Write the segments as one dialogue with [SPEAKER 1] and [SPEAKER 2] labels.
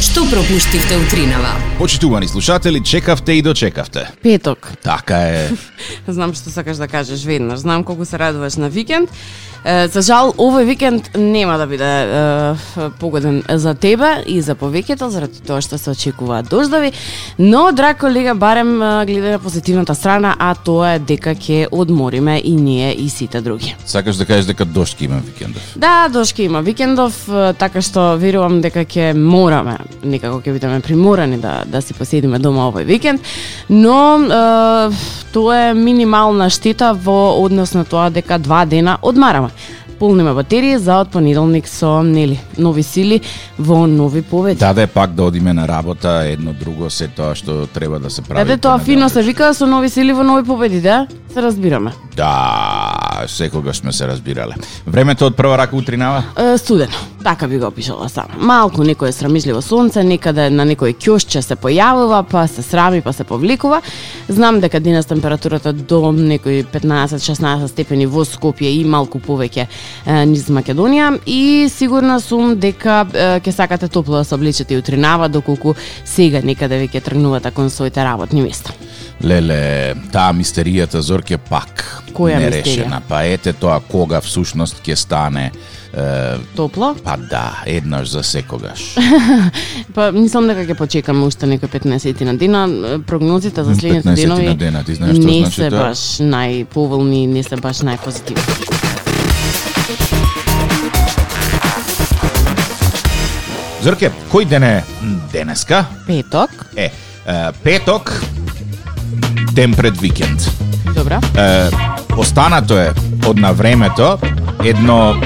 [SPEAKER 1] Што пропуштивте утринава?
[SPEAKER 2] Почитувани слушатели, чекавте и дочекавте.
[SPEAKER 3] Петок.
[SPEAKER 2] Така е.
[SPEAKER 3] Знам што сакаш да кажеш веднаш. Знам колку се радуваш на викенд. Е, за жал, овој викенд нема да биде е, погоден за тебе и за повеќето, заради тоа што се очекуваат дождови. Но, драг колега, барем е, гледа на позитивната страна, а тоа е дека ќе одмориме и ние и сите други.
[SPEAKER 2] Сакаш да кажеш дека дошт ќе имам викендов.
[SPEAKER 3] Да, дошки има викендов, е, така што верувам дека ќе мораме, некако ќе бидеме приморани да да си поседиме дома овој викенд, но е, тоа е минимална штета во однос на тоа дека два дена одмараме. Полниме батерии за од понеделник со нели нови сили во нови победи.
[SPEAKER 2] Даде пак да одиме на работа, едно друго се тоа што треба да се прави.
[SPEAKER 3] Ете тоа фино се
[SPEAKER 2] понеделник.
[SPEAKER 3] вика со нови сили во нови победи, да? Се разбираме.
[SPEAKER 2] Да, секогаш сме се разбирале. Времето од прва рака утринава.
[SPEAKER 3] Е, студено, така би го опишала сама. Малку некое срамежливо сонце, некаде на некој ќошче се појавува, па се срами, па се повлекува. Знам дека денес температурата до некои 15-16 степени во Скопје и малку повеќе е, низ Македонија и сигурна сум дека е, ќе сакате топло да се облечете утринава доколку сега некаде веќе тргнувате кон своите работни места.
[SPEAKER 2] Леле, таа мистеријата Зорке пак
[SPEAKER 3] Која
[SPEAKER 2] нерешена. Па ете тоа кога всушност ќе стане. Е,
[SPEAKER 3] Топло?
[SPEAKER 2] па да, еднаш за секогаш.
[SPEAKER 3] Па мислам дека ќе почекаме уште некој 15 на дена, Е, прогнозите за следните
[SPEAKER 2] 15
[SPEAKER 3] денови.
[SPEAKER 2] на дена, ти знаеш што
[SPEAKER 3] не
[SPEAKER 2] значи
[SPEAKER 3] се
[SPEAKER 2] тоа?
[SPEAKER 3] баш најповолни, не се баш најпозитивни.
[SPEAKER 2] Зорке, кој ден е денеска?
[SPEAKER 3] Петок,
[SPEAKER 2] Е, е петок, ден пред викенд.
[SPEAKER 3] добра.
[SPEAKER 2] е, останато е од на времето едно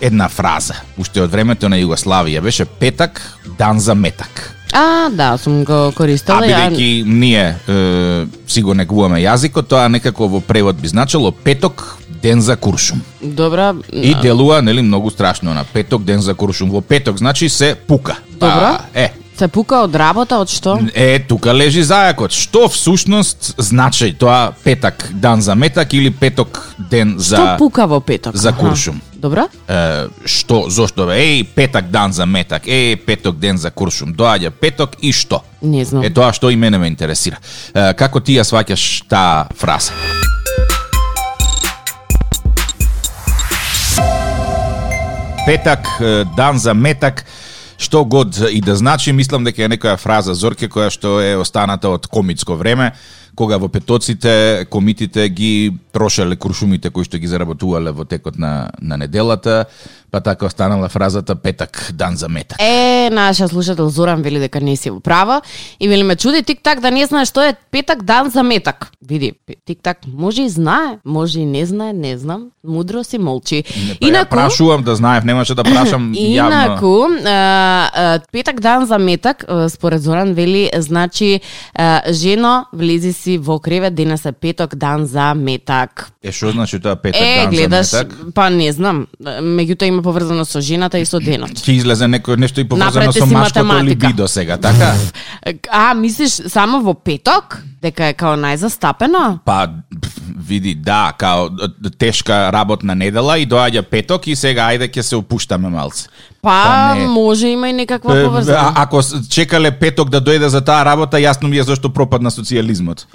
[SPEAKER 2] една фраза. Уште од времето на Југославија беше петак, дан за метак.
[SPEAKER 3] А, да, сум го
[SPEAKER 2] А
[SPEAKER 3] користела
[SPEAKER 2] бидејќи ние е, си го негуваме јазикот, тоа некако во превод би значило петок, ден за куршум.
[SPEAKER 3] добра.
[SPEAKER 2] И делува, нели, многу страшно на петок, ден за куршум. Во петок, значи, се пука. Па,
[SPEAKER 3] Добро.
[SPEAKER 2] е,
[SPEAKER 3] Се пука од работа, од што?
[SPEAKER 2] Е, тука лежи зајакот. Што всушност значи тоа петак, дан за метак или петок, ден за...
[SPEAKER 3] Што пука во петок?
[SPEAKER 2] за
[SPEAKER 3] Аха.
[SPEAKER 2] куршум.
[SPEAKER 3] Добра?
[SPEAKER 2] Е, што, зошто бе? Еј, петак дан за метак, еј, петок ден за куршум, доаѓа петок и што?
[SPEAKER 3] Не знам.
[SPEAKER 2] Е тоа што и мене ме интересира. Е, како ти ја сваќаш таа фраза? Петак, е, дан за метак, што год и да значи, мислам дека е некоја фраза Зорке која што е останата од комитско време, кога во петоците комитите ги трошеле куршумите кои што ги заработувале во текот на, на неделата, па така останала фразата петак, дан за метак.
[SPEAKER 3] Е, наша слушател Зоран вели дека не си во право и вели ме чуди тик-так да не знае што е петак дан за метак. Види, тик-так може и знае, може и не знае, не знам. Мудро си молчи.
[SPEAKER 2] Па ја прашувам да знаев, немаше да прашам јавно.
[SPEAKER 3] Инаку, а, а, петак дан за метак, а, според Зоран Вели, значи, а, жено, влези си во кревет, денес е петок дан за метак.
[SPEAKER 2] Е, што значи тоа петак
[SPEAKER 3] Е,
[SPEAKER 2] дан
[SPEAKER 3] гледаш,
[SPEAKER 2] за метак?
[SPEAKER 3] па не знам, меѓутоа има поврзано со жената и со денот.
[SPEAKER 2] Ќе излезе некој нешто и поврзано
[SPEAKER 3] Направете
[SPEAKER 2] со
[SPEAKER 3] си
[SPEAKER 2] машкото
[SPEAKER 3] математика.
[SPEAKER 2] либидо сега, така?
[SPEAKER 3] А, мислиш само во петок, дека е као најзастапено?
[SPEAKER 2] Па, пф, види, да, као д- д- тешка работна недела и доаѓа петок и сега ајде ќе се опуштаме малце.
[SPEAKER 3] Па,
[SPEAKER 2] Па не.
[SPEAKER 3] може има и некаква
[SPEAKER 2] Е, да.
[SPEAKER 3] поврзана.
[SPEAKER 2] а- Ако с- чекале петок да дојде за таа работа, јасно ми е зашто пропадна социјализмот.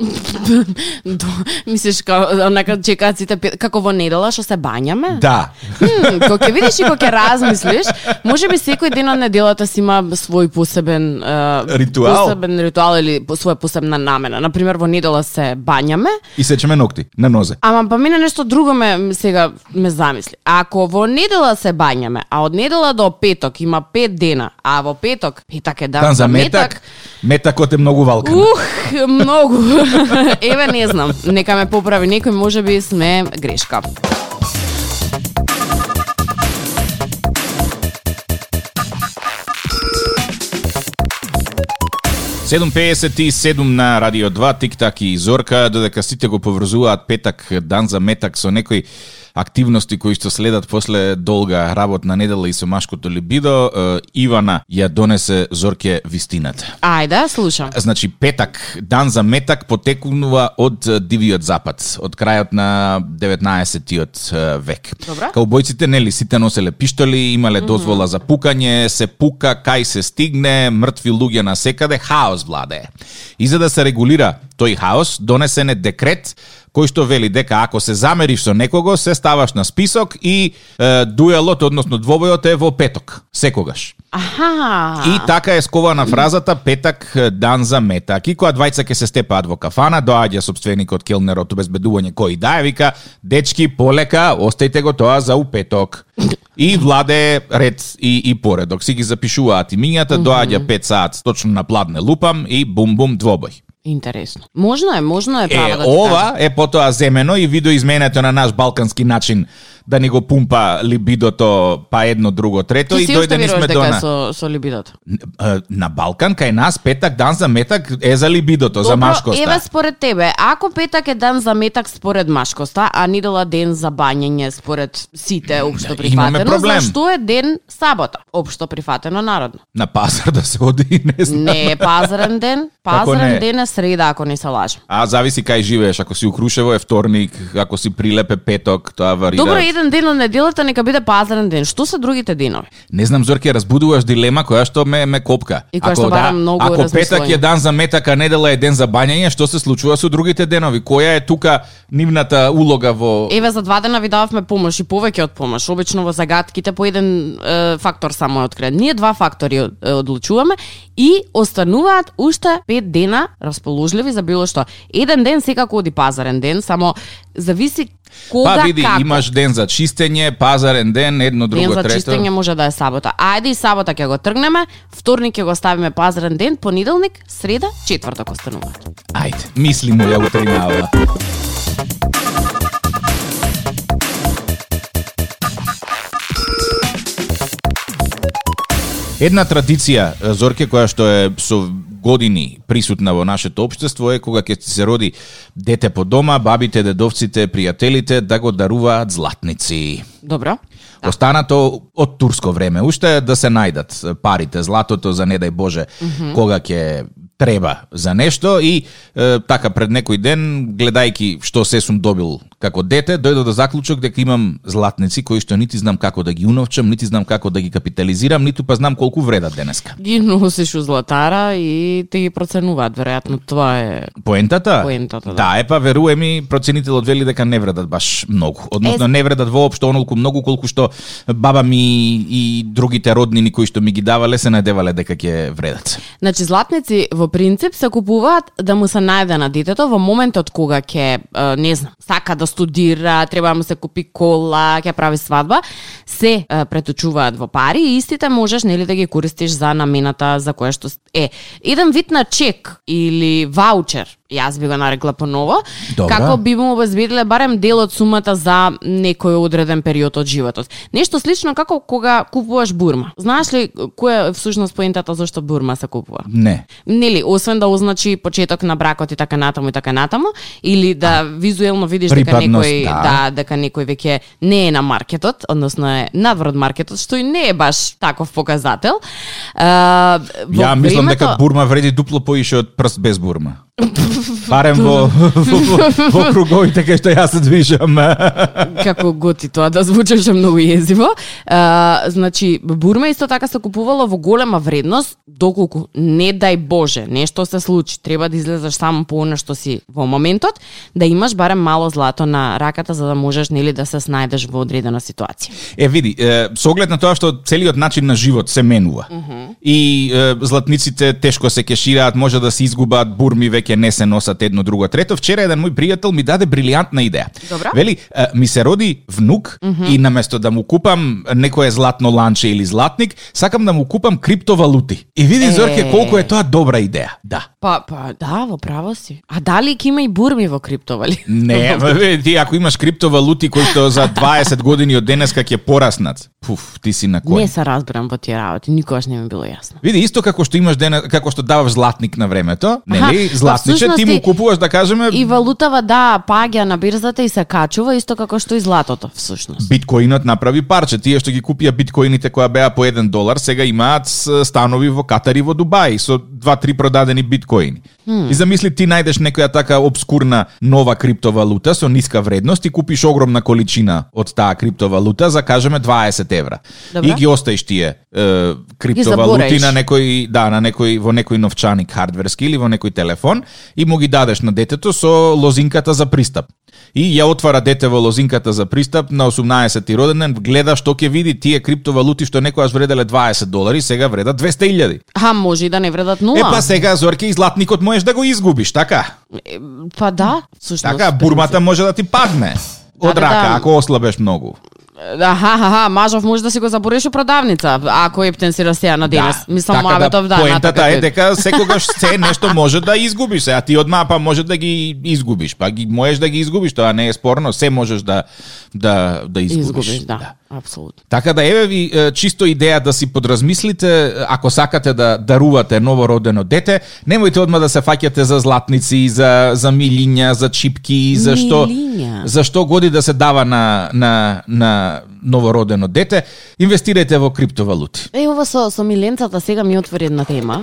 [SPEAKER 3] До- Мислиш, као, онака чекаат сите, пет- како во недела што се бањаме?
[SPEAKER 2] Да.
[SPEAKER 3] Хм, кога ќе видиш и кога ќе размислиш, може би секој ден од неделата си има свој посебен е,
[SPEAKER 2] Ритуал?
[SPEAKER 3] посебен ритуал или по- своја посебна намена. На пример во недела се бањаме,
[SPEAKER 2] И сечеме ногти на нозе.
[SPEAKER 3] Ама па мене нешто друго ме м, сега ме замисли. Ако во недела се бањаме, а од недела до петок има пет дена, а во петок петак е дан,
[SPEAKER 2] Тан Да, за метак, метакот е многу валкан.
[SPEAKER 3] Ух, многу. Еве не знам, нека ме поправи некој, можеби сме грешка.
[SPEAKER 2] и 7.57 на Радио 2, Тик-так и Зорка, додека сите го поврзуваат петак, дан за метак со некој активности кои што следат после долга работна недела и со машкото либидо, е, Ивана ја донесе Зорке вистината.
[SPEAKER 3] Ајде, слушам.
[SPEAKER 2] Значи, петак, дан за метак, потекнува од е, Дивиот Запад, од крајот на 19-тиот е, век.
[SPEAKER 3] Добра.
[SPEAKER 2] Каубојците, нели, сите носеле пиштоли, имале дозвола за пукање, се пука, кај се стигне, мртви луѓе на секаде, хаос владее. И за да се регулира тој хаос, донесен е декрет кој што вели дека ако се замериш со некого, се ставаш на список и е, дуелот, односно двобојот е во петок, секогаш.
[SPEAKER 3] Аха.
[SPEAKER 2] И така е скована фразата петак е, дан за метак. И кога двајца ќе се степаат во кафана, доаѓа собственикот келнерот обезбедување кој дае вика дечки полека, остајте го тоа за у петок. И владе ред и, и поредок. Си ги запишуваат имињата, доаѓа 5 саат точно на пладне лупам и бум-бум двобој.
[SPEAKER 3] Интересно. Можно е, можно е право
[SPEAKER 2] Е,
[SPEAKER 3] да ти кажам.
[SPEAKER 2] ова е потоа земено и видо изменето на наш балкански начин да ни го пумпа либидото па едно, друго, трето
[SPEAKER 3] Ти
[SPEAKER 2] и
[SPEAKER 3] си уште
[SPEAKER 2] дојде ни
[SPEAKER 3] веруваш
[SPEAKER 2] сме
[SPEAKER 3] дека
[SPEAKER 2] до
[SPEAKER 3] е
[SPEAKER 2] на...
[SPEAKER 3] со, со либидото.
[SPEAKER 2] Е, на Балкан кај нас петак дан за метак е за либидото, за машкоста.
[SPEAKER 3] еве според тебе, ако петак е ден за метак според машкоста, а недела ден за бањење според сите општо
[SPEAKER 2] Да, имаме
[SPEAKER 3] прифатено,
[SPEAKER 2] проблем.
[SPEAKER 3] зашто е ден сабота, општо прифатено народно?
[SPEAKER 2] На пазар да се оди и не знам.
[SPEAKER 3] Не е пазарен ден,
[SPEAKER 2] Како
[SPEAKER 3] пазарен
[SPEAKER 2] не?
[SPEAKER 3] ден е среда, ако не се лажам.
[SPEAKER 2] А зависи кај живееш, ако си у Крушево е вторник, ако си прилепе петок, тоа варира.
[SPEAKER 3] Добро, еден ден од неделата нека биде пазарен ден. Што се другите денови?
[SPEAKER 2] Не знам Зорке, разбудуваш дилема која што ме ме копка.
[SPEAKER 3] И која што бара многу
[SPEAKER 2] ако петак
[SPEAKER 3] размислување.
[SPEAKER 2] е дан за метак, а недела е ден за бањање, што се случува со другите денови? Која е тука нивната улога во
[SPEAKER 3] Еве за два дена ви дававме помош и повеќе од помош. Обично во загадките по еден е, фактор само е открен. Ние два фактори од- е, одлучуваме и остануваат уште пет дена расположливи за било што. Еден ден секако оди пазарен ден, само зависи кога
[SPEAKER 2] Па види,
[SPEAKER 3] како.
[SPEAKER 2] имаш ден за чистење, пазарен ден, едно друго
[SPEAKER 3] Ден за
[SPEAKER 2] трето.
[SPEAKER 3] чистење може да е сабота. Ајде и сабота ќе го тргнеме, вторник ќе го ставиме пазарен ден, понеделник, среда, четврток остануваат.
[SPEAKER 2] Ајде, мисли му ја утринава. Една традиција, е, Зорке, која што е со години присутна во нашето општество е кога ќе се роди дете по дома, бабите, дедовците, пријателите да го даруваат златници.
[SPEAKER 3] Добро?
[SPEAKER 2] Да. Останато од турско време уште да се најдат парите, златото за не дај Боже кога ќе треба за нешто и е, така пред некој ден гледајки што се сум добил како дете дојдов до заклучок дека имам златници кои што нити знам како да ги уновчам, нити знам како да ги капитализирам, ниту па знам колку вредат денеска.
[SPEAKER 3] Ги носиш у златара и ти ги проценуваат, веројатно тоа е
[SPEAKER 2] Поентата?
[SPEAKER 3] Поентата, да.
[SPEAKER 2] да. е па веруе ми проценителот вели дека не вредат баш многу. Односно
[SPEAKER 3] Е,
[SPEAKER 2] не вредат воопшто онолку многу колку што баба ми и другите роднини кои што ми ги давале се надевале дека ќе вредат.
[SPEAKER 3] Значи, златници во принцип се купуваат да му се најде на детето во моментот кога ќе, е, не знам, сака да студира, треба да му се купи кола, ќе прави свадба, се е, преточуваат во пари и истите можеш нели да ги користиш за намената за која што е. Еден вид на чек или ваучер, јас би го нарекла поново,
[SPEAKER 2] Добра.
[SPEAKER 3] како би му обезбедиле барем дел од сумата за некој одреден период од животот. Нешто слично како кога купуваш бурма. Знаеш ли која е всушност поентата зашто бурма се купува?
[SPEAKER 2] Не.
[SPEAKER 3] Нели, освен да означи почеток на бракот и така натаму и така натаму, или да визуелно видиш дека
[SPEAKER 2] припадност,
[SPEAKER 3] некој
[SPEAKER 2] да.
[SPEAKER 3] да, дека некој веќе не е на маркетот, односно е надвор од маркетот, што и не е баш таков показател. А, во
[SPEAKER 2] Ја мислам
[SPEAKER 3] времето-
[SPEAKER 2] дека бурма вреди дупло поише од прст без бурма. Барем во, во, во, во круговите кај што јас се движам.
[SPEAKER 3] како готи тоа да звучеше многу језиво. А, значи, бурма исто така се купувала во голема вредност, доколку не дај Боже, нешто се случи, треба да излезеш само по она што си во моментот, да имаш барем мало злато на раката за да можеш нели да се снајдеш во одредена ситуација.
[SPEAKER 2] Е, види, е, со оглед на тоа што целиот начин на живот се менува и е, златниците тешко се кешираат, може да се изгубат, бурми веќе не се носат едно друго трето. Вчера еден мој пријател ми даде брилијантна идеја.
[SPEAKER 3] Добра.
[SPEAKER 2] Вели, е, ми се роди внук и наместо да му купам некое златно ланче или златник, сакам да му купам криптовалути. И види,
[SPEAKER 3] Е.
[SPEAKER 2] Зорке, колку е тоа добра идеја. Да.
[SPEAKER 3] Па, па, да, во право си. А дали ќе има и бурми во криптовали?
[SPEAKER 2] Не, бе, ти ако имаш криптовалути кои што за 20 години од денеска ќе пораснат, пуф, ти си на кој?
[SPEAKER 3] Не се разбирам во тие работи, никогаш не ми било јасно.
[SPEAKER 2] Види, исто како што имаш дена, како што даваш златник на времето, нели?
[SPEAKER 3] Аха,
[SPEAKER 2] Златниче, ти му
[SPEAKER 3] всушности,
[SPEAKER 2] купуваш, да кажеме,
[SPEAKER 3] И валутава да паѓа на бирзата и се качува исто како што и златото всушност.
[SPEAKER 2] биткоинот направи парче. Тие што ги купија биткоините која беа по 1 долар, сега имаат с- станови во Катар и во Дубај со 2-3 продадени биткоини. Hmm. И замисли ти најдеш некоја така обскурна нова криптовалута со ниска вредност и купиш огромна количина од таа криптовалута за кажеме 20 евра.
[SPEAKER 3] Добра.
[SPEAKER 2] И ги остаиш тие е, криптовалути
[SPEAKER 3] забораиш.
[SPEAKER 2] на некој да на некој во некој новчаник хардверски или во некој телефон и му ги дадеш на детето со лозинката за пристап. И ја отвара дете во лозинката за пристап на 18-ти роденден, гледа што ќе види тие криптовалути што некојаш вределе 20 долари, сега вредат 200.000.
[SPEAKER 3] А може и да не вредат
[SPEAKER 2] Е
[SPEAKER 3] нула.
[SPEAKER 2] па сега Зорке и златникот можеш да го изгубиш, така?
[SPEAKER 3] Е, па да, всушност.
[SPEAKER 2] Така бурмата може да ти падне. Од
[SPEAKER 3] Да, да,
[SPEAKER 2] рака,
[SPEAKER 3] да.
[SPEAKER 2] ако ослабеш многу.
[SPEAKER 3] Аха, аха, мажов може да си го забориш у продавница, ако Ептен си растеја на денес. Мислам,
[SPEAKER 2] така
[SPEAKER 3] муабетов да,
[SPEAKER 2] Поентата
[SPEAKER 3] натака
[SPEAKER 2] е
[SPEAKER 3] тој.
[SPEAKER 2] дека секогаш се нешто може да изгубиш, а ти од мапа може да ги изгубиш, па ги можеш да ги изгубиш, тоа не е спорно, се можеш да да да изгубиш.
[SPEAKER 3] Изгубиш, да, апсолутно.
[SPEAKER 2] Така да еве ви е, чисто идеја да си подразмислите ако сакате да дарувате новородено дете, немојте одма да се фаќате за златници, за за милиња, за чипки, за што
[SPEAKER 3] Милиња.
[SPEAKER 2] за што годи да се дава на на на новородено дете, инвестирајте во криптовалути.
[SPEAKER 3] Е, ова со, со миленцата сега ми отвори една тема.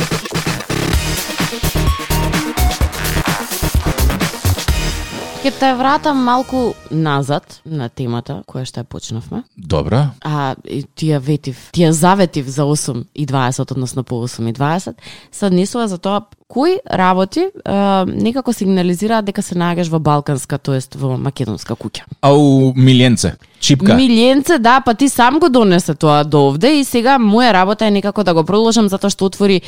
[SPEAKER 3] Ке те вратам малку назад на темата која што ја почнавме.
[SPEAKER 2] Добро.
[SPEAKER 3] а и ти ја ветив, ти ја заветив за 8 и 20, односно по 8 и 20, се однесува за тоа кои работи а, некако сигнализираат дека се наоѓаш во балканска, тоест во македонска куќа.
[SPEAKER 2] Ау, милиенце, чипка.
[SPEAKER 3] Милиенце, да, па ти сам го донесе тоа до овде и сега моја работа е некако да го продолжам затоа што отвори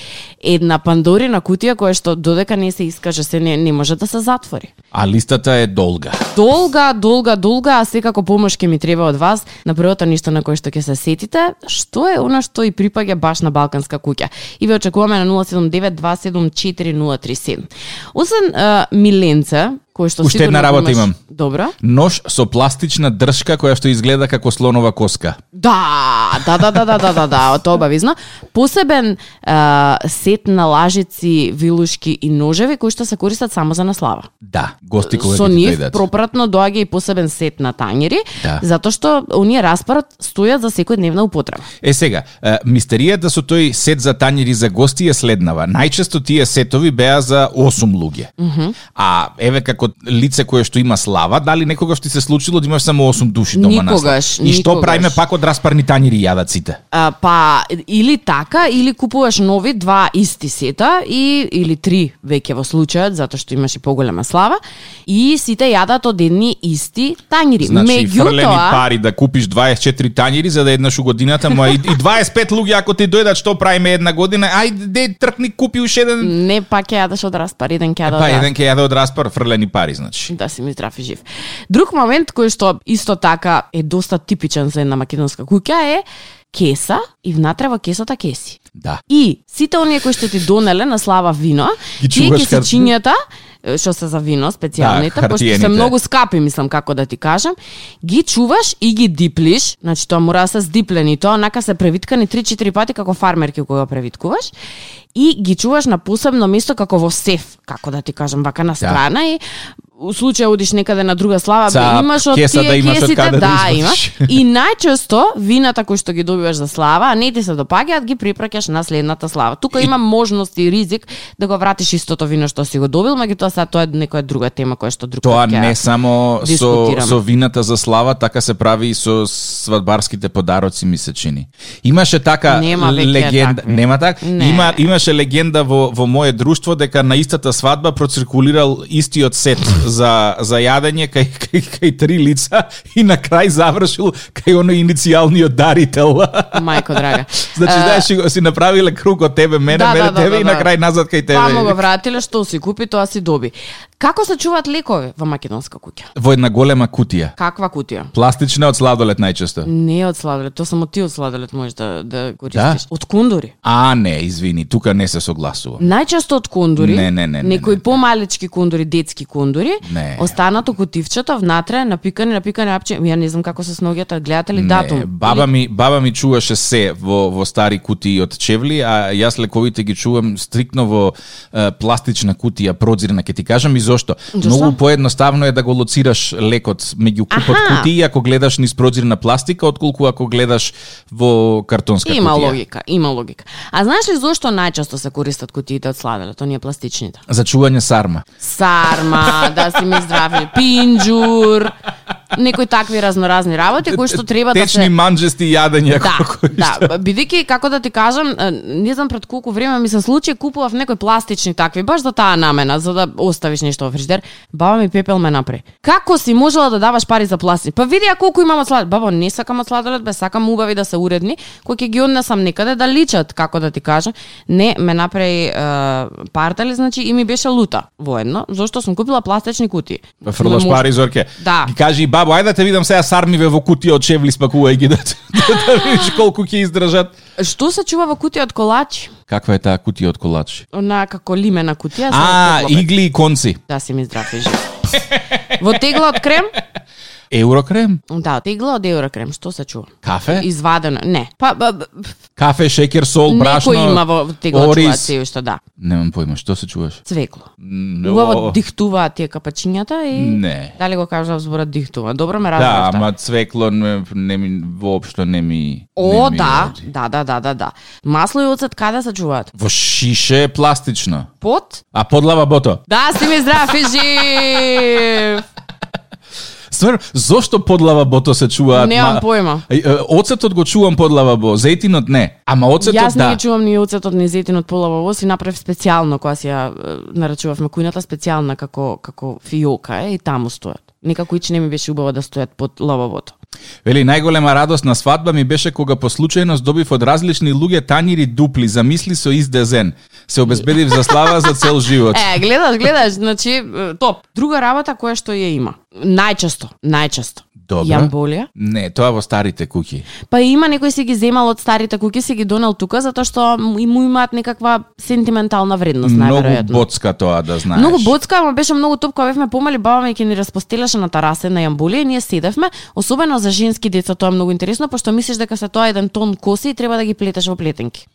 [SPEAKER 3] една пандорина кутија која што додека не се искаже се не, не може да се затвори.
[SPEAKER 2] А листата е долга.
[SPEAKER 3] Долга, долга, долга, а секако помош ќе ми треба од вас на првото ништо на кое што ќе се сетите, што е она што и припаѓа баш на Балканска куќа. И ве очекуваме на 079-274-037. Освен uh, Миленце, кој што
[SPEAKER 2] Уште една
[SPEAKER 3] сигурно го
[SPEAKER 2] работа
[SPEAKER 3] имаш-
[SPEAKER 2] имам.
[SPEAKER 3] Добро.
[SPEAKER 2] Нож со пластична дршка која што изгледа како слонова коска.
[SPEAKER 3] Да, да, да, да, да, да, да, да, тоа обавизно. Посебен а, сет на лажици, вилушки и ножеви кои што се користат само за наслава.
[SPEAKER 2] Да, гости кога
[SPEAKER 3] Со
[SPEAKER 2] ќе
[SPEAKER 3] нив
[SPEAKER 2] дојдат.
[SPEAKER 3] пропратно доаѓа и посебен сет на тањери,
[SPEAKER 2] Да.
[SPEAKER 3] затоа што оние распарат стојат за секојдневна употреба.
[SPEAKER 2] Е сега, е, мистеријата со тој сет за тањери за гости е следнава. Најчесто тие сетови беа за 8 луѓе. А еве како лице кое што има слава, дали некогаш ти се случило да имаш само 8 души дома на слава?
[SPEAKER 3] Никогаш,
[SPEAKER 2] И што
[SPEAKER 3] никогаш.
[SPEAKER 2] правиме пак од распарни тањери јадат сите?
[SPEAKER 3] А, па или така или купуваш нови два исти сета и или три веќе во случајот затоа што имаш и поголема слава и сите јадат од едни исти тањери.
[SPEAKER 2] Значи, фрлени
[SPEAKER 3] Меѓутоа,
[SPEAKER 2] пари да купиш 24 тањери за да еднаш у годината, ма и, и 25 луѓе ако ти дојдат што правиме една година, ајде де, тркни купи уште еден
[SPEAKER 3] не пак ќе јадеш од распар, еден ќе јаде од
[SPEAKER 2] Па
[SPEAKER 3] распар.
[SPEAKER 2] еден ќе јаде од распар фрлени пари, значи.
[SPEAKER 3] да си ми здрав и жив. Друг момент кој што исто така е доста типичен за една македонска куќа е кеса и внатре во кесата кеси.
[SPEAKER 2] Да.
[SPEAKER 3] И сите оние кои што ти донеле на слава вино,
[SPEAKER 2] Ги
[SPEAKER 3] тие
[SPEAKER 2] чуваш
[SPEAKER 3] ќе се
[SPEAKER 2] хар-
[SPEAKER 3] чињата е, што се за вино специјалните,
[SPEAKER 2] Да,
[SPEAKER 3] пошто
[SPEAKER 2] хартиените.
[SPEAKER 3] се многу скапи, мислам како да ти кажам, ги чуваш и ги диплиш, значи тоа мора да се сдиплени, тоа онака се превиткани 3-4 пати како фармерки кои го превиткуваш и ги чуваш на посебно место како во сеф, како да ти кажам, вака на страна и у случај одиш некаде на друга слава,
[SPEAKER 2] Цап,
[SPEAKER 3] бе, имаш од
[SPEAKER 2] кеса
[SPEAKER 3] тие
[SPEAKER 2] да имаш од
[SPEAKER 3] кесите,
[SPEAKER 2] каде да
[SPEAKER 3] да,
[SPEAKER 2] извадиш.
[SPEAKER 3] имаш. И најчесто вината кои што ги добиваш за слава, а не ти се допаѓаат, ги препраќаш на следната слава. Тука има можност и ризик да го вратиш истото вино што си го добил, меѓутоа сега тоа е некоја друга тема која што друг
[SPEAKER 2] Тоа
[SPEAKER 3] пат ќе ја-
[SPEAKER 2] не само со,
[SPEAKER 3] Така. дискутираме.
[SPEAKER 2] со вината за слава, така се прави и со свадбарските подароци, ми се чини. Имаше така
[SPEAKER 3] Нема веќе
[SPEAKER 2] легенда,
[SPEAKER 3] такви.
[SPEAKER 2] нема так?
[SPEAKER 3] Не.
[SPEAKER 2] Има, имаше легенда во, во мое друштво дека на истата свадба проциркулирал истиот сет за, за јадење кај, кај, кај три лица и на крај завршил кај оно иницијалниот дарител.
[SPEAKER 3] Мајко драга.
[SPEAKER 2] Значи,
[SPEAKER 3] Е,
[SPEAKER 2] знаеш, си го- си направиле круг од тебе, мене,
[SPEAKER 3] Да,
[SPEAKER 2] мене,
[SPEAKER 3] да, да,
[SPEAKER 2] тебе
[SPEAKER 3] да,
[SPEAKER 2] и на
[SPEAKER 3] да.
[SPEAKER 2] крај назад кај тебе.
[SPEAKER 3] Па му го вратиле што си купи, тоа си доби. Како се чуваат лекови во македонска куќа?
[SPEAKER 2] Во една голема кутија.
[SPEAKER 3] Каква кутија?
[SPEAKER 2] Пластична од сладолет најчесто.
[SPEAKER 3] Не од сладолет, тоа само ти од сладолет можеш да да користиш. Од кундури.
[SPEAKER 2] А, не, извини, тука не се согласувам.
[SPEAKER 3] Најчесто од кондури,
[SPEAKER 2] Не, не, не, не,
[SPEAKER 3] некои
[SPEAKER 2] не.
[SPEAKER 3] помалечки кондури, детски кондури, отвори,
[SPEAKER 2] Не.
[SPEAKER 3] останато кутивчето внатре, напикани, напикани апче, ја не знам како се сногјата, гледате ли датум?
[SPEAKER 2] Не, баба ми, баба ми чуваше се во, во стари кутии од чевли, а јас лековите ги чувам стрикно во е, пластична кутија прозирна, ке ти кажам и зошто.
[SPEAKER 3] Зошто?
[SPEAKER 2] Многу поедноставно е да го лоцираш лекот меѓу купот
[SPEAKER 3] Аха.
[SPEAKER 2] кутии ако гледаш низ прозирна пластика, отколку ако гледаш во картонска
[SPEAKER 3] Има
[SPEAKER 2] кутија.
[SPEAKER 3] логика, има логика. А знаеш ли зошто најчесто се користат кутиите од сладолед, оние пластичните?
[SPEAKER 2] За чување сарма.
[SPEAKER 3] Сарма, да си ми здрави, пинџур, некои такви разноразни работи кои што треба да
[SPEAKER 2] Течни
[SPEAKER 3] се
[SPEAKER 2] манџести и јадење. ако кој
[SPEAKER 3] да, да, бидејќи како да ти кажам, е, не знам пред колку време ми се случи, купував некои пластични такви, баш за таа намена, за да оставиш нешто во фриждер. Баба ми пепел ме напри. Како си можела да даваш пари за пластик? Па види ја колку имам од сладолед. Бабо, не сакам од сладолед, бе, сакам убави да се уредни, кои ќе ги однесам некаде да личат, како да ти кажам. Не, ме направи е, партали, значи и ми беше лута воедно, зашто сум купила пластични кутии.
[SPEAKER 2] Фрлаш
[SPEAKER 3] Ме муж-
[SPEAKER 2] пари, Зорке.
[SPEAKER 3] Да.
[SPEAKER 2] Ги кажи, бабо, ајде да те видам сега сармиве во кутија од чевли спакувај ги да, да, да видиш колку ќе издржат.
[SPEAKER 3] Што се чува во кутија од колачи?
[SPEAKER 2] Каква е таа кутија од колач?
[SPEAKER 3] Она како лимена кутија. со
[SPEAKER 2] А,
[SPEAKER 3] тегло, бе.
[SPEAKER 2] игли и конци.
[SPEAKER 3] Да си ми здрав и жив. Во тегла од крем?
[SPEAKER 2] Еврокрем,
[SPEAKER 3] Да, тегла од евро крем, што се чува?
[SPEAKER 2] кафе,
[SPEAKER 3] Извадено, не. Па, па б-
[SPEAKER 2] кафе, шекер, сол, брашно,
[SPEAKER 3] некој има во тегла од чува
[SPEAKER 2] ориз.
[SPEAKER 3] се што да.
[SPEAKER 2] Немам појма, што се чуваш?
[SPEAKER 3] Цвекло.
[SPEAKER 2] М,
[SPEAKER 3] Убаво
[SPEAKER 2] о,
[SPEAKER 3] дихтуваат тие капачињата и
[SPEAKER 2] Не.
[SPEAKER 3] дали го кажав зборот дихтува. Добро ме
[SPEAKER 2] Да,
[SPEAKER 3] разбравте.
[SPEAKER 2] ама цвекло не, не ми, воопшто не ми...
[SPEAKER 3] О,
[SPEAKER 2] не ми
[SPEAKER 3] да,
[SPEAKER 2] оди.
[SPEAKER 3] да, да, да, да, да. Масло и оцет каде се чуваат?
[SPEAKER 2] Во шише е пластично.
[SPEAKER 3] Под?
[SPEAKER 2] А подлава бото.
[SPEAKER 3] Да, си ми здрав и жив!
[SPEAKER 2] Стварно, зошто под лавабото се чуваат?
[SPEAKER 3] Немам појма.
[SPEAKER 2] Е, е, Оцетот го чувам под лавабо, зејтинот не. Ама оцетот
[SPEAKER 3] Јас не
[SPEAKER 2] да.
[SPEAKER 3] ги чувам ни оцетот ни зетинот полава во си направив специјално кога си ја е, нарачувавме кујната специјална како како фиока е и таму стојат. Никако ич не ми беше убаво да стојат под лавовото.
[SPEAKER 2] Вели, најголема радост на свадба ми беше кога по случајност добив од различни луѓе тањири дупли, замисли со издезен. Се обезбедив за слава за цел живот.
[SPEAKER 3] Е, гледаш, гледаш, значи е, топ. Друга работа која што ја има. Најчесто, најчесто.
[SPEAKER 2] Добро.
[SPEAKER 3] Јамболија.
[SPEAKER 2] Не, тоа во старите куќи.
[SPEAKER 3] Па има некој си ги земал од старите куки, си ги донел тука затоа што му и му имаат некаква сентиментална вредност
[SPEAKER 2] Многу
[SPEAKER 3] најверојатно.
[SPEAKER 2] боцка тоа да знаеш.
[SPEAKER 3] Многу боцка, ама беше многу топ кога бевме помали, баба ми ќе ни распостелеше на тарасе на јамболија и ние седевме, особено за женски деца тоа е многу интересно, пошто мислиш дека се тоа еден тон коси и треба да ги плетеш во плетенки.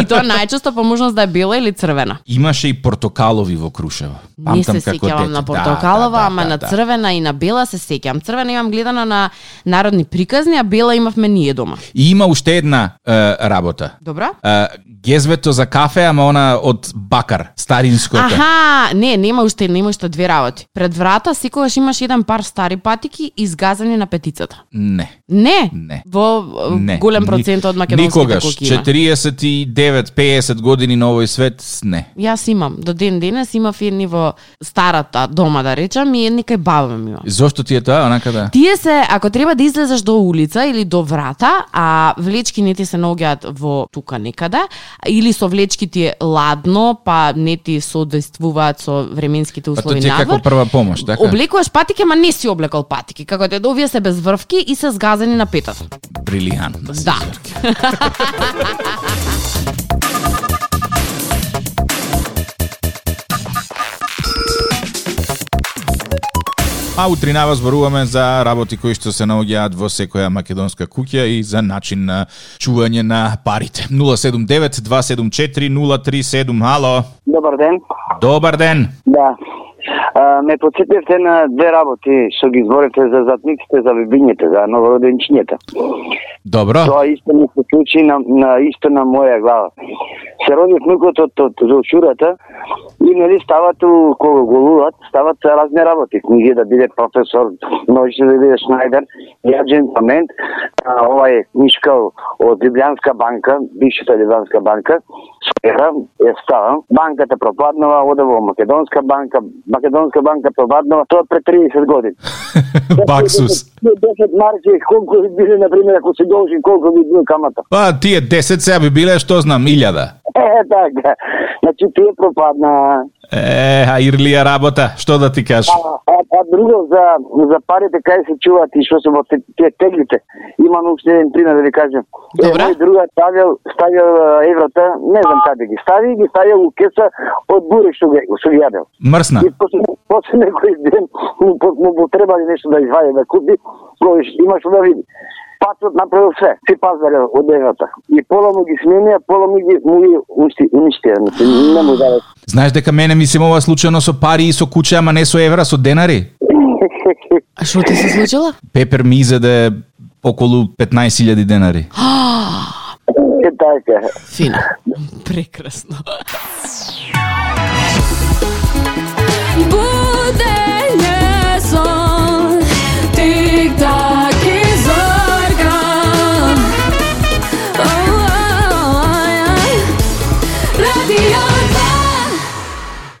[SPEAKER 3] И тоа најчесто по можност да е бела или црвена.
[SPEAKER 2] Имаше и портокалови во Крушево.
[SPEAKER 3] Не
[SPEAKER 2] Памтам
[SPEAKER 3] се
[SPEAKER 2] како
[SPEAKER 3] сеќавам
[SPEAKER 2] дете.
[SPEAKER 3] на
[SPEAKER 2] Да,
[SPEAKER 3] портокалова,
[SPEAKER 2] да, да,
[SPEAKER 3] ама
[SPEAKER 2] да,
[SPEAKER 3] на
[SPEAKER 2] да.
[SPEAKER 3] црвена и на бела се сеќавам. Црвена имам гледана на народни приказни, а бела имавме ние дома.
[SPEAKER 2] И има уште една е, работа.
[SPEAKER 3] Добра?
[SPEAKER 2] А, гезвето за кафе, ама она од бакар, старинското.
[SPEAKER 3] Аха, не, нема уште, нема уште две работи. Пред врата секогаш имаш еден пар стари патики изгазани на петицата.
[SPEAKER 2] Не,
[SPEAKER 3] Не.
[SPEAKER 2] Не.
[SPEAKER 3] Во е,
[SPEAKER 2] не.
[SPEAKER 3] голем процент од македонските
[SPEAKER 2] Никогаш,
[SPEAKER 3] кокина.
[SPEAKER 2] 49-50 години на овој свет, не.
[SPEAKER 3] Јас имам, до ден денес имав едни во старата дома да речам и едни кај баба ми имам.
[SPEAKER 2] Зошто ти е тоа, онака да?
[SPEAKER 3] Тие се, ако треба да излезеш до улица или до врата, а влечки не ти се наоѓаат во тука некаде, или со влечки ти е ладно, па не ти соодействуваат со временските
[SPEAKER 2] Па тоа
[SPEAKER 3] услови
[SPEAKER 2] ти е како
[SPEAKER 3] надвор.
[SPEAKER 2] прва помош, така?
[SPEAKER 3] Облекуваш патики, ма не си облекол патики. Како те овие се без врвки и се згазени на петата.
[SPEAKER 2] Брилијантно. си,
[SPEAKER 3] Да.
[SPEAKER 2] Зорке. А утрина зборуваме за работи кои што се наоѓаат во секоја македонска куќа и за начин на чување на парите. 079-274-037, ало.
[SPEAKER 1] Добар ден.
[SPEAKER 2] Добар ден.
[SPEAKER 1] Да. А, ме подсетивте на две работи што ги зборите за затниците, за бебињите, за новороденчињата.
[SPEAKER 2] Добро.
[SPEAKER 1] Тоа исто ми се случи на, на исто на моја глава. Се роди внукот од, од Золчурата и нели стават у, кога голуват, стават разни работи. Книги да биде професор, ножи да биде Шнайдер, јаджен памент, а, ова е книжка од Либлянска банка, бившата Либлянска банка, Сфера е става. Банката пропаднала, оде во Македонска банка, Македонска банка пропаднала, тоа пред 30 години.
[SPEAKER 2] Баксус.
[SPEAKER 1] 10 марки, колку би биле, например, ако си должен, колку би бил камата.
[SPEAKER 2] Па тие 10 сега би биле, што знам, 1000.
[SPEAKER 1] Е, така. Значи ти е пропадна.
[SPEAKER 2] Е, а Ирлија работа, што да ти кажам?
[SPEAKER 1] А, а, а друго за, за парите кај се чуваат и што се во те- тие теглите. Имам уште еден пример да ви кажам.
[SPEAKER 3] Добра.
[SPEAKER 1] Е, мој друга ставил, ставил е, еврота, не знам каде ги стави, ги ставил у кеса од буре што ги, што ги јадел.
[SPEAKER 2] Мрсна.
[SPEAKER 1] И после, после некој ден му, по- му, му требали нешто да извади, да купи, провиш, има што да види. Патот направил се, си пазарел од еврота. И пола му ги сменија, пола му ги, му ги уништи- уништија, значи, не му даде.
[SPEAKER 2] Знаеш дека мене ми се мова случајно со пари и со куќа, ама не со евра, со денари.
[SPEAKER 3] А што ти се случила?
[SPEAKER 2] Пепер ми изеде околу 15.000 денари.
[SPEAKER 1] Е така.
[SPEAKER 3] Фина. Прекрасно.
[SPEAKER 4] Budene son Tik tak i zorga Oh, oh, oh, Radio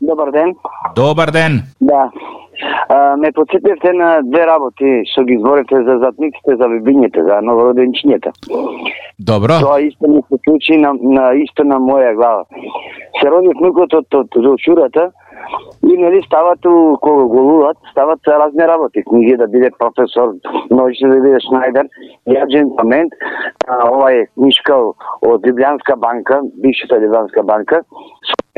[SPEAKER 4] 2
[SPEAKER 1] Добар ден.
[SPEAKER 2] Добар ден.
[SPEAKER 1] Да. А, ме подсетивте на две работи што ги зборите за затниците, за бебињите, за новороденчињата.
[SPEAKER 2] Добро.
[SPEAKER 1] Тоа исто ми се случи на, на исто на моја глава. Се роди внукот од, од, од чурата и нели стават у кога голуват, стават се разни работи. Книги да биде професор, научно да биде Шнајдер, Јаджен Памент, а, ова е книжка од Либлянска банка, бившата Либлянска банка,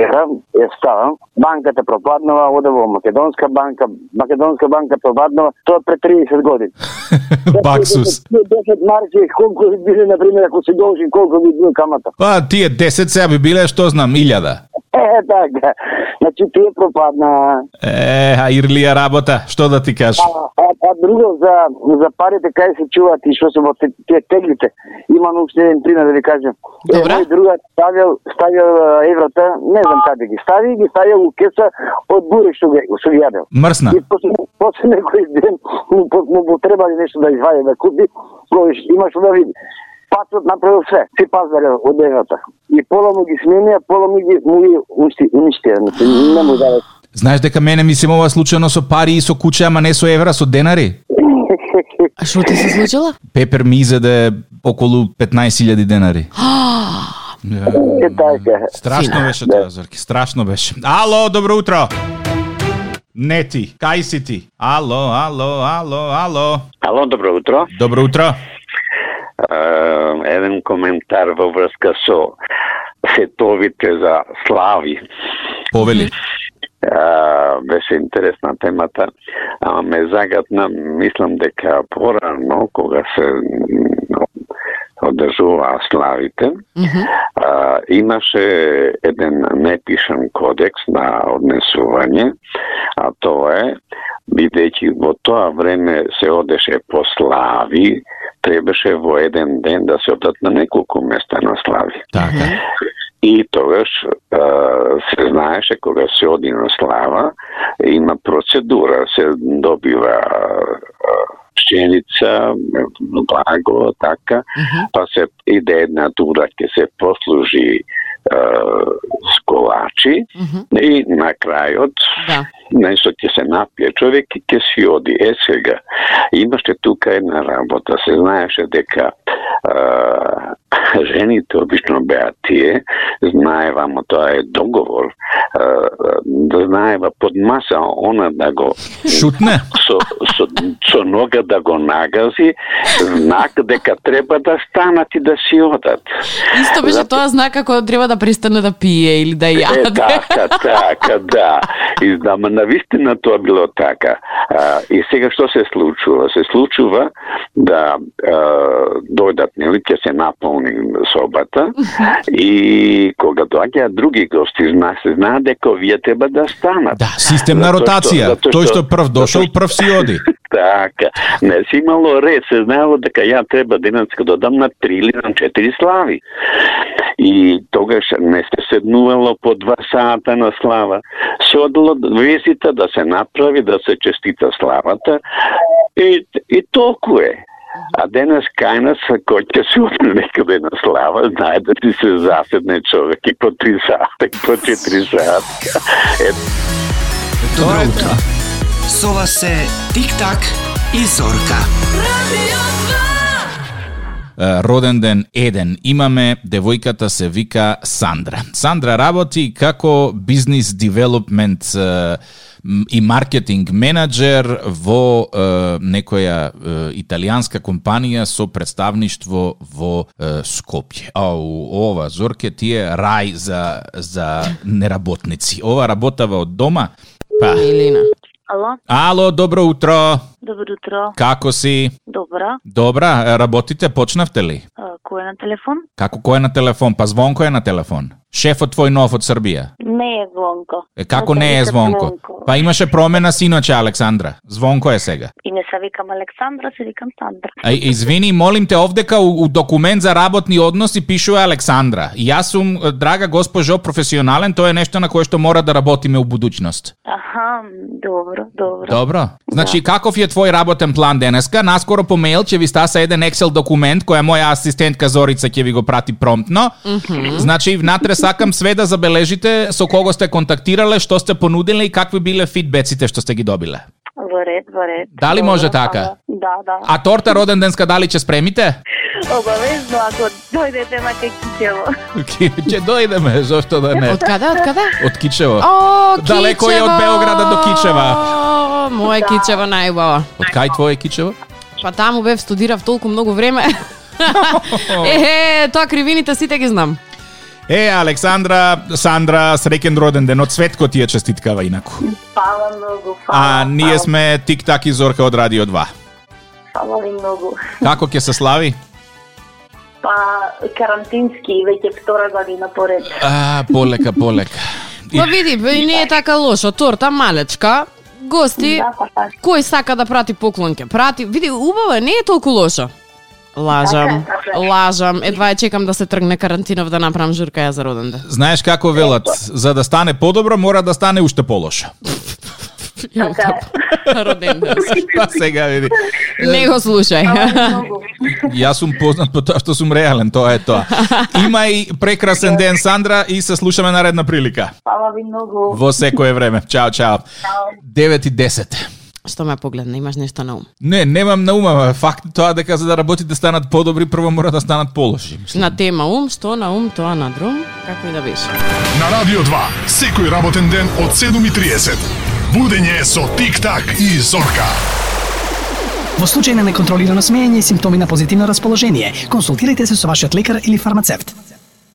[SPEAKER 1] Ера, е ставам. Банката пропаднала, оде во Македонска банка, Македонска банка пропаднала, тоа пред 30 години.
[SPEAKER 2] Баксус.
[SPEAKER 1] 10 марки, колку би биле, например, ако се должи, колку би бил камата.
[SPEAKER 2] Па, тие 10 сега би биле, што знам, 1000.
[SPEAKER 1] Е, така. Значи, ти е пропадна.
[SPEAKER 2] Е, а Ирлија работа, што да ти кажам?
[SPEAKER 1] А, а, а друго за, за парите кај се чуваат и што се во те- тие теглите. Имам уште еден пример да ви кажам.
[SPEAKER 3] Добра.
[SPEAKER 1] Е, мој друга ставил, ставил е, еврота, не знам каде ги стави, ги ставил у кеса од буре што ги, што ги јадел.
[SPEAKER 2] Мрсна.
[SPEAKER 1] И после, после некој ден му, по- му, му требали нешто да извади, да купи, провиш, има што да види. Патот направил се, си пазарел од еврота. И пола му ги сменија, пола му ги, му ги уништи- уништија, значи не му даде.
[SPEAKER 2] Знаеш дека мене ми се мова случајно со пари и со куќа, ама не со евра, со денари.
[SPEAKER 3] А што ти се случила?
[SPEAKER 2] Пепер ми изеде околу 15.000 денари. Ја,
[SPEAKER 1] Е така.
[SPEAKER 2] Страшно беше
[SPEAKER 5] Да.
[SPEAKER 2] тоа, Зорки, страшно беше. Ало, добро утро! Не ти, кај си ти? Ало, ало, ало, ало.
[SPEAKER 5] Ало, добро утро.
[SPEAKER 2] Добро утро.
[SPEAKER 5] Е, еден коментар во врска со сетовите за слави.
[SPEAKER 2] Повели.
[SPEAKER 5] Е, беше интересна темата, ама ме загадна, мислам дека порано, кога се м, одржуваа славите, а, имаше еден непишан кодекс на однесување, а тоа е, бидејќи во тоа време се одеше по слави, требаше во еден ден да се одат на неколку места на слави.
[SPEAKER 2] Така.
[SPEAKER 5] И тогаш а, се знаеше кога се оди на слава, има процедура, се добива а, а, пшеница, благо, така, па се иде една тура ќе се послужи а, с колачи и на крајот
[SPEAKER 3] Да.
[SPEAKER 5] нешто ќе се напие човек и ќе си оди. Е сега, имаше тука една работа, се знаеше дека а, жените обично беа тие, знаева, ама тоа е договор, а, да знаева под маса она да го
[SPEAKER 2] Шутне?
[SPEAKER 5] со, со, со нога да го нагази, знак дека треба да станат и да си одат.
[SPEAKER 3] Исто беше тоа знак како треба да престане да пие или да
[SPEAKER 5] Е,
[SPEAKER 3] јаде.
[SPEAKER 5] така, така, да. И знам, навистина тоа било така. А, и сега што се случува? Се случува да а, дојдат, нели, ќе се наполни собата и кога доаѓаат други гости, зна се знае дека вие треба да станат.
[SPEAKER 2] Да, системна
[SPEAKER 5] Затоа што-
[SPEAKER 2] ротација.
[SPEAKER 5] затоа
[SPEAKER 2] Тој што прв дошол, прв си оди.
[SPEAKER 5] Така, не си имало ред, се знаело дека ја треба денеска да дам на три или на четири слави. И тогаш не се седнувало по два сата на слава. Се одело визита да се направи, да се честита славата. И, и толку е. А денес кај нас, кој ќе се одне некаде на слава, знае да ти се заседне човек и по три сата, и по четири сата. Е,
[SPEAKER 6] Добро утро. Со вас се Тик-так и Зорка.
[SPEAKER 4] Radio 2
[SPEAKER 2] е, роден ден еден имаме, девојката се вика Сандра. Сандра работи како бизнес девелопмент и маркетинг менеджер во е, некоја е, италијанска компанија со представништво во е, Скопје. А у ова Зорке ти е рај за за неработници. Ова работава од дома. Па,
[SPEAKER 3] Илина.
[SPEAKER 7] Ало,
[SPEAKER 2] ало, добро утро.
[SPEAKER 7] добро утро.
[SPEAKER 2] Како си?
[SPEAKER 7] Добра.
[SPEAKER 2] Добра, е, работите, почнавте ли?
[SPEAKER 7] А, Кој е на телефон?
[SPEAKER 2] Како кој е на телефон? Па Звонко е на телефон. Шефот твој нов од Србија.
[SPEAKER 7] Не е Звонко.
[SPEAKER 2] Е, како
[SPEAKER 7] Ме
[SPEAKER 2] не е
[SPEAKER 7] викат
[SPEAKER 2] Звонко? Па имаше промена синоќе, Александра. Звонко е сега.
[SPEAKER 7] И не се викам Александра, се викам Сандра.
[SPEAKER 2] А, извини, молим те, овдека у, у документ за работни односи пишува Александра. И Јас сум, е, драга госпожо, професионален, тоа е нешто на кое што мора да работиме у будучност.
[SPEAKER 7] Аха, добро, добро. Да.
[SPEAKER 2] Добро. Значи, каков е твој работен план денеска? Наскоро по мејл ќе ви стаса еден Excel документ која моја асистентка Зорица ќе ви го прати промптно. Значи, внатре сакам све да забележите со кого сте контактирале, што сте понудиле и какви биле фидбеците што сте ги добиле.
[SPEAKER 7] Во ред, во ред.
[SPEAKER 2] Дали
[SPEAKER 7] Добро,
[SPEAKER 2] може така?
[SPEAKER 7] ама- Да, да.
[SPEAKER 2] А торта роден денска дали ќе спремите?
[SPEAKER 7] Обавезно, ако дојдете, маке кичево.
[SPEAKER 2] ќе дојдеме, зошто да не.
[SPEAKER 3] Од каде, од каде?
[SPEAKER 2] Од Кичево.
[SPEAKER 3] О,
[SPEAKER 2] Далеко е од
[SPEAKER 3] Кичево!
[SPEAKER 2] Белграда до
[SPEAKER 3] О, Моје
[SPEAKER 7] Да.
[SPEAKER 3] Кичево најубаво.
[SPEAKER 2] Од кај твое Кичево?
[SPEAKER 3] Па таму бев студирав толку многу време. Ехе, тоа кривините сите ги знам.
[SPEAKER 2] Е, Александра, Сандра, среќен роден ден. Од Светко ти ја честиткава инаку.
[SPEAKER 7] Фала многу, фала.
[SPEAKER 2] А ние
[SPEAKER 7] фала,
[SPEAKER 2] сме Тик Так и Зорка од Радио 2.
[SPEAKER 7] Фала ви многу.
[SPEAKER 2] Како ќе се слави?
[SPEAKER 7] Па, карантински, веќе втора година поред.
[SPEAKER 2] А, полека, полека. И,
[SPEAKER 3] Па види, бе, и не е така лошо. Торта малечка, гости,
[SPEAKER 7] Да, па така.
[SPEAKER 3] кој сака да прати поклон ќе прати. Види, убаво е, не е толку лошо. Лажам,
[SPEAKER 7] Така е, така е.
[SPEAKER 3] лажам. Едва ја чекам да се тргне карантинов да направам журка ја за роден ден.
[SPEAKER 2] знаеш како велат, за да стане подобро, мора да стане уште полошо.
[SPEAKER 3] Ја
[SPEAKER 7] Така е.
[SPEAKER 3] утопа. да- роден ден.
[SPEAKER 2] Па сега види.
[SPEAKER 3] Не го слушај.
[SPEAKER 7] Многу.
[SPEAKER 2] Јас сум познат по тоа што сум реален, тоа е тоа. Имај прекрасен ден, Сандра, и се слушаме наредна прилика.
[SPEAKER 7] Фала ви многу.
[SPEAKER 2] Во секое време. Чао, чао. 9 и 10.
[SPEAKER 3] Што ме погледна, имаш нешто на ум.
[SPEAKER 2] Не, немам на ума, ама факт е тоа дека за да работите станат подобри, прво мора да станат полоши.
[SPEAKER 3] На тема ум, што на ум, тоа на друм, како и да беше.
[SPEAKER 8] На Радио 2, секој работен ден од 7.30. Будење со Тик-так и Зорка.
[SPEAKER 9] Во случај на неконтролирано смеење и симптоми на позитивно расположение, консултирайте се со вашиот лекар или фармацевт.